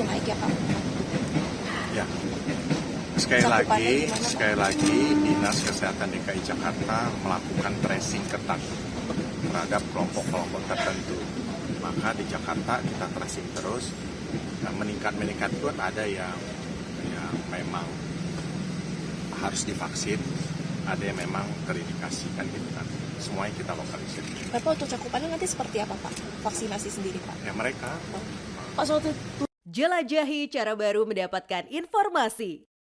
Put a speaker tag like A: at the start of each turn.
A: ya,
B: Ya. Sekali lagi, sekali lagi Dinas Kesehatan DKI Jakarta melakukan tracing ketat terhadap kelompok-kelompok tertentu. Maka di Jakarta kita tracing terus dan meningkat-meningkat pun ada yang yang memang harus divaksin, ada yang memang terindikasi kan gitu kan. Semuanya kita lokalisir.
A: Bapak untuk cakupannya nanti seperti apa Pak? Vaksinasi sendiri Pak?
B: Ya mereka
A: Pak Sotu,
C: Jelajahi cara baru mendapatkan informasi.